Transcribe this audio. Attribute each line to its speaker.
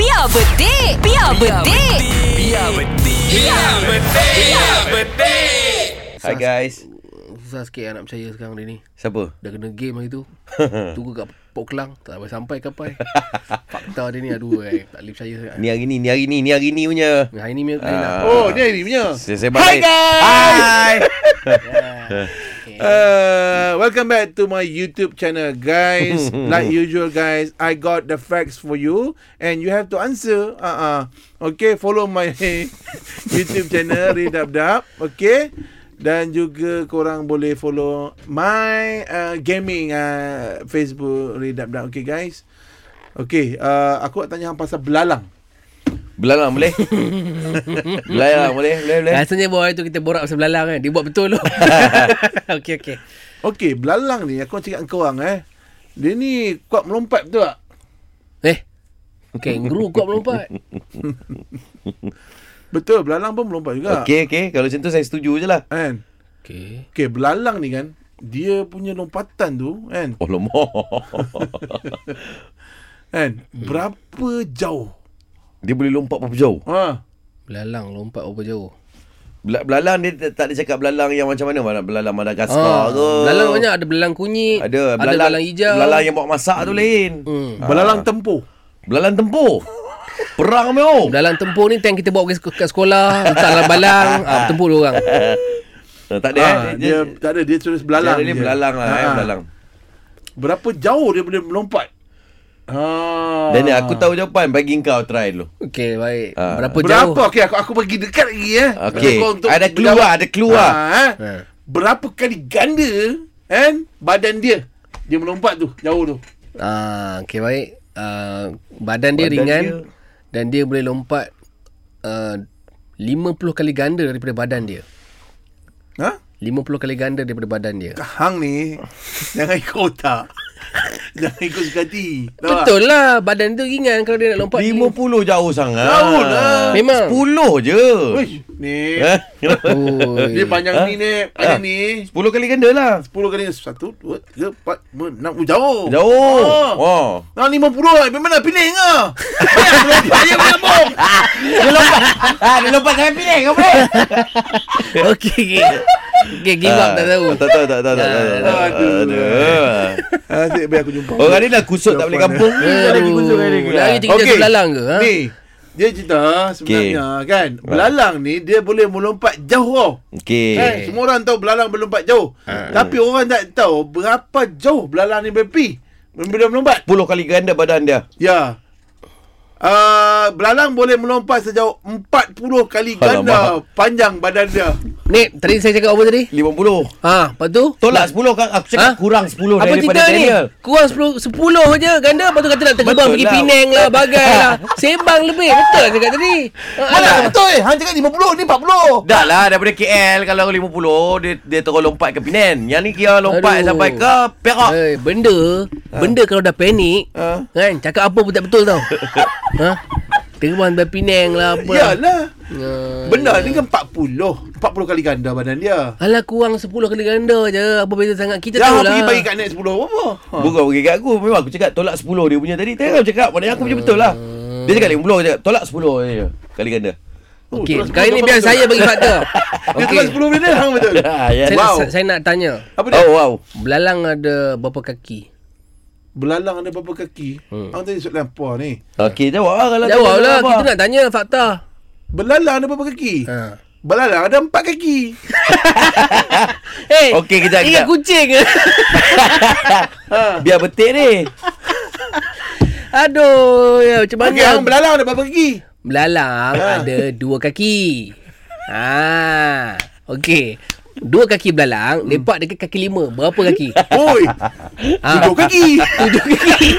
Speaker 1: Biar bedik Biar bedik
Speaker 2: Biar betik Biar betik Biar betik Hi guys
Speaker 3: Susah sikit lah nak percaya sekarang dia ni
Speaker 2: Siapa?
Speaker 3: Dah kena game hari tu Tunggu kat Pok Kelang Tak sampai sampai kapai Fakta dia ni aduh eh Tak boleh percaya sangat
Speaker 2: Ni hari ni, ni hari ni, ni hari ni punya
Speaker 3: Hari ni punya uh, lah
Speaker 2: Ah.
Speaker 4: Oh, dia ini punya.
Speaker 2: Saya sebab Hi guys Hi
Speaker 4: Uh, welcome back to my YouTube channel, guys. like usual, guys, I got the facts for you, and you have to answer. Uh-uh. Okay, follow my YouTube channel, Redabdab. Okay. Dan juga korang boleh follow my uh, gaming uh, Facebook Redabdab. Okay, guys. Okay, uh, aku nak tanya hang pasal belalang.
Speaker 2: Belalang lah, boleh? Belalang boleh? Boleh boleh?
Speaker 3: Rasanya buat hari tu kita borak pasal belalang kan Dia buat betul loh Okey okey
Speaker 4: Okay, belalang ni aku nak cakap dengan korang eh. Dia ni kuat melompat betul tak?
Speaker 3: Eh Kangaroo kuat melompat
Speaker 4: Betul, belalang pun melompat juga.
Speaker 2: Okey okey, kalau macam tu saya setuju je lah
Speaker 4: Kan?
Speaker 3: Okey
Speaker 4: Okay, belalang ni kan, dia punya lompatan tu kan,
Speaker 2: Oh lemah
Speaker 4: kan berapa jauh?
Speaker 2: Dia boleh lompat berapa jauh?
Speaker 4: Ha.
Speaker 3: Belalang lompat berapa jauh
Speaker 2: Bel- Belalang dia tak tak ada cakap belalang yang macam mana mana- Belalang Madagaskar ke
Speaker 3: Ah, Belalang banyak Ada belalang kunyit
Speaker 2: Ada
Speaker 3: belalang, ada belalang hijau
Speaker 2: Belalang yang buat masak tu lain Ah,
Speaker 3: hmm.
Speaker 4: Belalang tempoh.
Speaker 2: Belalang tempur Perang oh. meo
Speaker 3: Belalang tempur ni Time kita bawa pergi sek- kat sekolah Letak dalam balang ah, Tempur dia orang
Speaker 2: Ah, Tak ada
Speaker 4: Ha,
Speaker 2: eh.
Speaker 4: dia, tak ada, dia tulis belalang.
Speaker 2: Dia, dia
Speaker 4: je.
Speaker 2: belalang lah eh,
Speaker 3: Ah.
Speaker 4: Ha.
Speaker 2: belalang.
Speaker 4: Berapa jauh dia boleh melompat? Ha.
Speaker 2: Daniel,
Speaker 3: Ah.
Speaker 2: aku tahu jawapan. Bagi kau try dulu.
Speaker 3: Okey baik
Speaker 2: Ah.
Speaker 3: Berapa jauh
Speaker 4: Berapa? Okey, aku aku bagi dekat lagi eh.
Speaker 2: Okey.
Speaker 4: Kau untuk
Speaker 2: Ada keluar, ada keluar.
Speaker 4: Ha, eh.
Speaker 3: Ha.
Speaker 4: Berapa kali ganda kan badan dia dia melompat tu, jauh tu.
Speaker 3: Ah, okay baik. Ah, badan dia
Speaker 2: Badan
Speaker 3: badan ringan
Speaker 2: dia-
Speaker 3: dia... dan dia boleh lompat uh, 50 kali ganda daripada badan dia.
Speaker 4: Ha?
Speaker 3: 50 kali ganda daripada badan dia.
Speaker 4: Hang ni jangan ikut otak. jangan ikut suka hati. Tahu tak?
Speaker 3: Betul lah, badan tu ringan kalau dia nak lompat.
Speaker 2: 50 jauh sangat.
Speaker 4: Jauh lah.
Speaker 3: Memang.
Speaker 2: 10 je.
Speaker 4: Uish, ni.
Speaker 2: Eh? Kenapa?
Speaker 3: Oi.
Speaker 4: Dia panjang ni ni, panjang ni.
Speaker 2: 10 kali ganda lah.
Speaker 4: 10 kali 1 2 3 4 5 6 oh, jauh. Ah.
Speaker 2: Jauh. Oh.
Speaker 4: Nah 50 lah. Memang nak pilih ah. ke? Banyak melompat dia banyak bom.
Speaker 2: Dia lompat. ah, dia lompat sampai pilih. Kau boleh?
Speaker 3: Okey. okey. Okey, give up tak tahu.
Speaker 2: Ah, Tak tahu, tak tahu. Tak, tahu, tak, tahu.
Speaker 4: Aduh. Ah,
Speaker 2: Aduh.
Speaker 4: Asyik biar aku jumpa.
Speaker 2: Orang ni dah kusut tak boleh kampung.
Speaker 3: Lagi kusut lagi kusut. Lagi tinggi
Speaker 4: Okey.
Speaker 3: okay. belalang ke? Ha?
Speaker 4: Ni. Dia cerita sebenarnya kan. Belalang ni dia boleh melompat jauh tau.
Speaker 2: Okey.
Speaker 4: Kan? Semua orang tahu belalang berlompat jauh.
Speaker 2: Ha.
Speaker 4: Tapi orang tak tahu berapa jauh belalang ni berpi. Bila melompat.
Speaker 2: 10 kali ganda badan dia.
Speaker 4: Ya. Uh, belalang boleh melompat sejauh 40 kali ganda
Speaker 2: Alamak.
Speaker 4: panjang badan dia.
Speaker 3: Ni, tadi saya cakap apa tadi?
Speaker 2: 50.
Speaker 3: Ha, lepas tu?
Speaker 2: Tolak 10 kan aku cakap
Speaker 3: Ha?
Speaker 2: kurang 10
Speaker 3: Apa
Speaker 2: daripada
Speaker 3: cerita ni?
Speaker 2: Daniel.
Speaker 3: Kurang 10 10 je ganda lepas tu kata nak terbang
Speaker 2: Betul
Speaker 3: pergi
Speaker 2: lah.
Speaker 3: Penang lah bagai lah. Sembang lebih betul lah cakap tadi. Ha,
Speaker 4: Alah,
Speaker 3: alah.
Speaker 4: betul. Hang cakap 50 ni 40.
Speaker 2: Dah lah daripada KL kalau 50 dia dia terus lompat ke Penang. Yang ni kira lompat Aduh.
Speaker 3: Aduh. Eh.
Speaker 2: sampai ke Perak.
Speaker 3: Hey, benda benda kalau dah panik
Speaker 4: Ha.
Speaker 3: kan cakap apa pun tak betul tau. ha? Terbang dari Penang lah apa.
Speaker 4: Yalah.
Speaker 3: Ha.
Speaker 4: Ya, Benda ni kan 40. 40 kali ganda badan dia.
Speaker 3: Alah kurang 10 kali ganda je Apa beza sangat Kita
Speaker 4: Jangan
Speaker 3: tahu
Speaker 4: pergi
Speaker 3: lah
Speaker 4: bagi kat net 10 apa. Ha.
Speaker 2: Bukan pergi kat aku Memang aku cakap tolak 10 dia punya tadi Tadi kau cakap Pada aku punya betul lah Dia cakap 50 Dia cakap tolak 10 je Kali ganda
Speaker 4: Oh,
Speaker 3: Okey
Speaker 4: terus
Speaker 3: Kali ni
Speaker 4: betul,
Speaker 3: biar
Speaker 4: betul.
Speaker 3: saya bagi fakta
Speaker 4: Dia
Speaker 3: Okey
Speaker 4: telah 10 minit hang betul.
Speaker 2: Ah, ya.
Speaker 3: saya,
Speaker 4: Wow.
Speaker 3: wow. saya nak tanya
Speaker 4: Apa dia?
Speaker 2: Oh wow
Speaker 3: Belalang ada berapa kaki?
Speaker 4: Belalang ada berapa kaki?
Speaker 2: Hmm.
Speaker 4: Hang tadi soalan apa ni?
Speaker 2: Okey jawab lah kalau
Speaker 3: Jawab
Speaker 2: tanya
Speaker 3: lah
Speaker 2: apa.
Speaker 3: Kita nak tanya fakta
Speaker 4: Belalang ada berapa kaki?
Speaker 3: Ha.
Speaker 4: Belalang ada 4 kaki. Eh,
Speaker 3: Hey,
Speaker 2: Okey, kejap, kejap.
Speaker 3: Ingat kucing ke?
Speaker 2: Biar betik ni
Speaker 3: Aduh, ya, macam mana?
Speaker 4: Okey, hang belalang ada berapa kaki?
Speaker 3: Belalang ada dua kaki. Ha. Okey. Dua kaki belalang, lepak dekat kaki lima. Berapa
Speaker 4: Oh,
Speaker 3: kaki?
Speaker 4: Oi.
Speaker 3: Ah.
Speaker 4: Tujuh kaki.
Speaker 3: Tujuh kaki.